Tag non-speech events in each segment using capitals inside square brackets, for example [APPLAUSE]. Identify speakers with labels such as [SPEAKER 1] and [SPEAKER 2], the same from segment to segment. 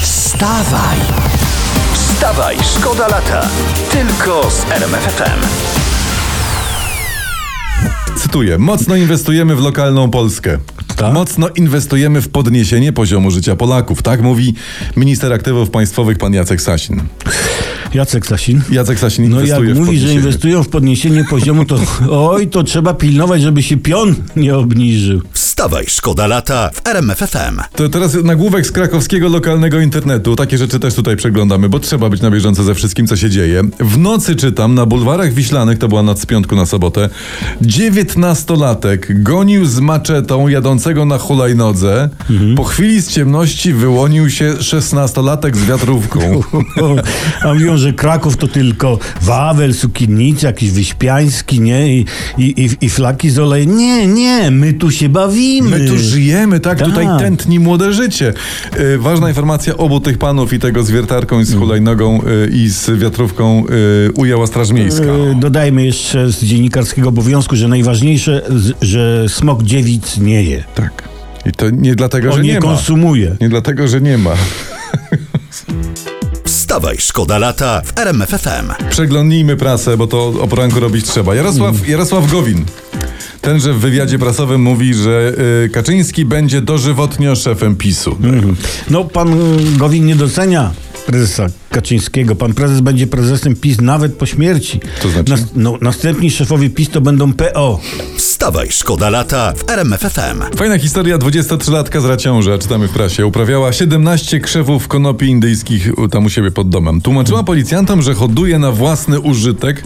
[SPEAKER 1] Wstawaj! Wstawaj, szkoda lata. Tylko z RMFFM.
[SPEAKER 2] Cytuję: Mocno inwestujemy w lokalną Polskę.
[SPEAKER 3] Tak?
[SPEAKER 2] Mocno inwestujemy w podniesienie poziomu życia Polaków. Tak mówi minister aktywów państwowych pan Jacek Sasin.
[SPEAKER 3] Jacek Sasin.
[SPEAKER 2] Jacek Sasin
[SPEAKER 3] No jak
[SPEAKER 2] inwestuje w
[SPEAKER 3] mówi, że
[SPEAKER 2] podniesienie.
[SPEAKER 3] inwestują w podniesienie poziomu, to [LAUGHS] oj, to trzeba pilnować, żeby się pion nie obniżył.
[SPEAKER 1] Wstawaj, szkoda lata w RMFFM.
[SPEAKER 2] To teraz nagłówek z krakowskiego lokalnego internetu. Takie rzeczy też tutaj przeglądamy, bo trzeba być na bieżąco ze wszystkim, co się dzieje. W nocy czytam na bulwarach Wiślanych, to była noc z piątku na sobotę, dziewiętnastolatek gonił z maczetą jadącego na hulajnodze. Po chwili z ciemności wyłonił się szesnastolatek z wiatrówką.
[SPEAKER 3] A mówią, że Kraków to tylko Wawel, Sukinnica, jakiś Wyśpiański, nie? I, i, i, i flaki z olejem. Nie, nie, my tu się bawimy.
[SPEAKER 2] My tu żyjemy, tak?
[SPEAKER 3] Tak.
[SPEAKER 2] Tutaj tętni młode życie. Yy, ważna informacja obu tych panów i tego z wiertarką, i z hulajnogą, yy, i z wiatrówką yy, ujęła Straż Miejska.
[SPEAKER 3] E, Dodajmy jeszcze z dziennikarskiego obowiązku, że najważniejsze, z- że smok dziewic nie je.
[SPEAKER 2] Tak. I to nie dlatego, że
[SPEAKER 3] On
[SPEAKER 2] nie
[SPEAKER 3] nie
[SPEAKER 2] ma.
[SPEAKER 3] konsumuje.
[SPEAKER 2] Nie dlatego, że nie ma.
[SPEAKER 1] Wstawaj, szkoda lata w RMFFM.
[SPEAKER 2] Przeglądnijmy prasę, bo to o poranku robić trzeba. Jarosław, Jarosław Gowin. Tenże w wywiadzie prasowym mówi, że y, Kaczyński będzie dożywotnio szefem PiSu.
[SPEAKER 3] No, pan y, Gowin nie docenia prezesa Kaczyńskiego. Pan prezes będzie prezesem PiS nawet po śmierci.
[SPEAKER 2] To znaczy?
[SPEAKER 3] Nas- no, następni szefowie PiS to będą PO.
[SPEAKER 1] Wstawaj, szkoda lata w RMFFM.
[SPEAKER 2] Fajna historia, 23-latka z Raciąża, czytamy w prasie, uprawiała 17 krzewów konopi indyjskich u- tam u siebie pod domem. Tłumaczyła policjantom, że hoduje na własny użytek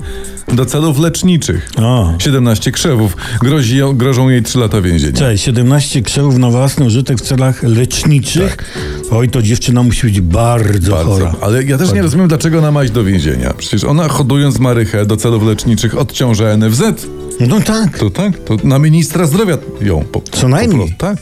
[SPEAKER 2] do celów leczniczych.
[SPEAKER 3] O.
[SPEAKER 2] 17 krzewów. Grozi, ją- grożą jej 3 lata więzienia.
[SPEAKER 3] Cześć, 17 krzewów na własny użytek w celach leczniczych.
[SPEAKER 2] Tak.
[SPEAKER 3] Oj, to dziewczyna musi być bardzo, chora.
[SPEAKER 2] Ale ja też nie rozumiem, dlaczego ona ma iść do więzienia. Przecież ona hodując marychę do celów leczniczych odciąża NFZ.
[SPEAKER 3] No tak.
[SPEAKER 2] To tak, to na ministra zdrowia ją po,
[SPEAKER 3] Co najmniej.
[SPEAKER 2] Po, tak.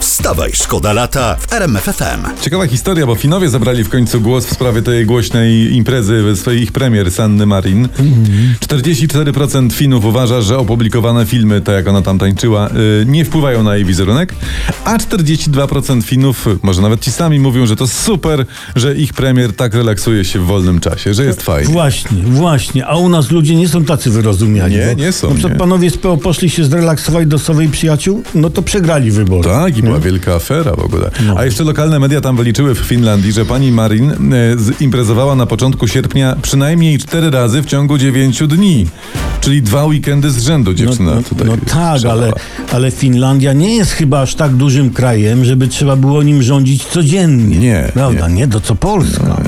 [SPEAKER 1] Wstawaj, szkoda lata w RMFFM.
[SPEAKER 2] Ciekawa historia, bo Finowie zabrali w końcu głos w sprawie tej głośnej imprezy swojej ich premier Sanny Marin. Mhm. 44% Finów uważa, że opublikowane filmy, tak jak ona tam tańczyła, y, nie wpływają na jej wizerunek, a 42% Finów, może nawet ci sami mówią, że to super, że ich premier tak relaksuje się w wolnym czasie, że jest fajnie.
[SPEAKER 3] Właśnie, właśnie. A u nas ludzie nie są tacy wyrozumiali.
[SPEAKER 2] Nie,
[SPEAKER 3] bo
[SPEAKER 2] nie są,
[SPEAKER 3] Na przykład
[SPEAKER 2] nie.
[SPEAKER 3] panowie z PO poszli się zrelaksować do swoich przyjaciół, no to przegrali wybory.
[SPEAKER 2] Tak, i była wielka afera w ogóle.
[SPEAKER 3] No.
[SPEAKER 2] A jeszcze lokalne media tam wyliczyły w Finlandii, że pani Marin e, zimprezowała na początku sierpnia przynajmniej cztery razy w ciągu dziewięciu dni. Czyli dwa weekendy z rzędu dziewczyna
[SPEAKER 3] no,
[SPEAKER 2] tutaj.
[SPEAKER 3] No tak,
[SPEAKER 2] szalała.
[SPEAKER 3] ale, ale Finlandia nie jest chyba aż tak dużym krajem, żeby trzeba było nim rządzić codziennie.
[SPEAKER 2] Nie,
[SPEAKER 3] Prawda, nie, to co Polska.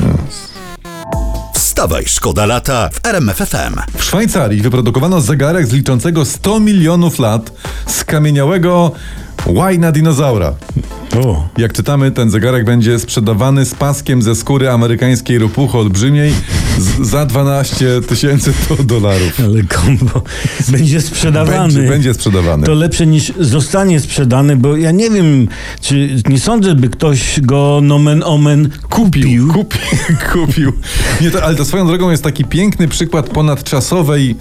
[SPEAKER 1] Wstawaj, szkoda lata w RMFFM.
[SPEAKER 2] W Szwajcarii wyprodukowano zegarek z liczącego 100 milionów lat z kamieniałego łajna dinozaura.
[SPEAKER 3] O.
[SPEAKER 2] Jak czytamy, ten zegarek będzie sprzedawany z paskiem ze skóry amerykańskiej ropuchy olbrzymiej z, za 12 tysięcy dolarów.
[SPEAKER 3] Ale kombo [LAUGHS] będzie sprzedawany.
[SPEAKER 2] Będzie, będzie sprzedawany.
[SPEAKER 3] To lepsze niż zostanie sprzedany, bo ja nie wiem, czy nie sądzę, by ktoś go nomen omen kupił.
[SPEAKER 2] Kupi, [LAUGHS] kupił. Nie, to, ale to swoją drogą jest taki piękny przykład ponadczasowej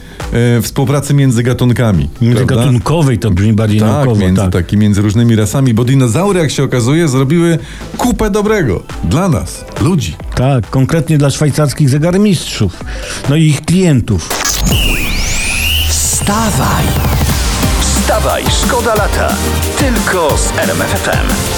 [SPEAKER 2] e, współpracy między gatunkami. prawda?
[SPEAKER 3] Międzygatunkowej to brzmi bardziej
[SPEAKER 2] Tak,
[SPEAKER 3] naukowo.
[SPEAKER 2] między,
[SPEAKER 3] tak.
[SPEAKER 2] Taki, między różnymi rasami, bo dinozaury, jak się okazuje, zrobiły kupę dobrego dla nas, ludzi.
[SPEAKER 3] tak, konkretnie dla szwajcarskich zegarmistrzów, no i ich klientów.
[SPEAKER 1] Wstawaj, szkoda lata tylko z RMFFM.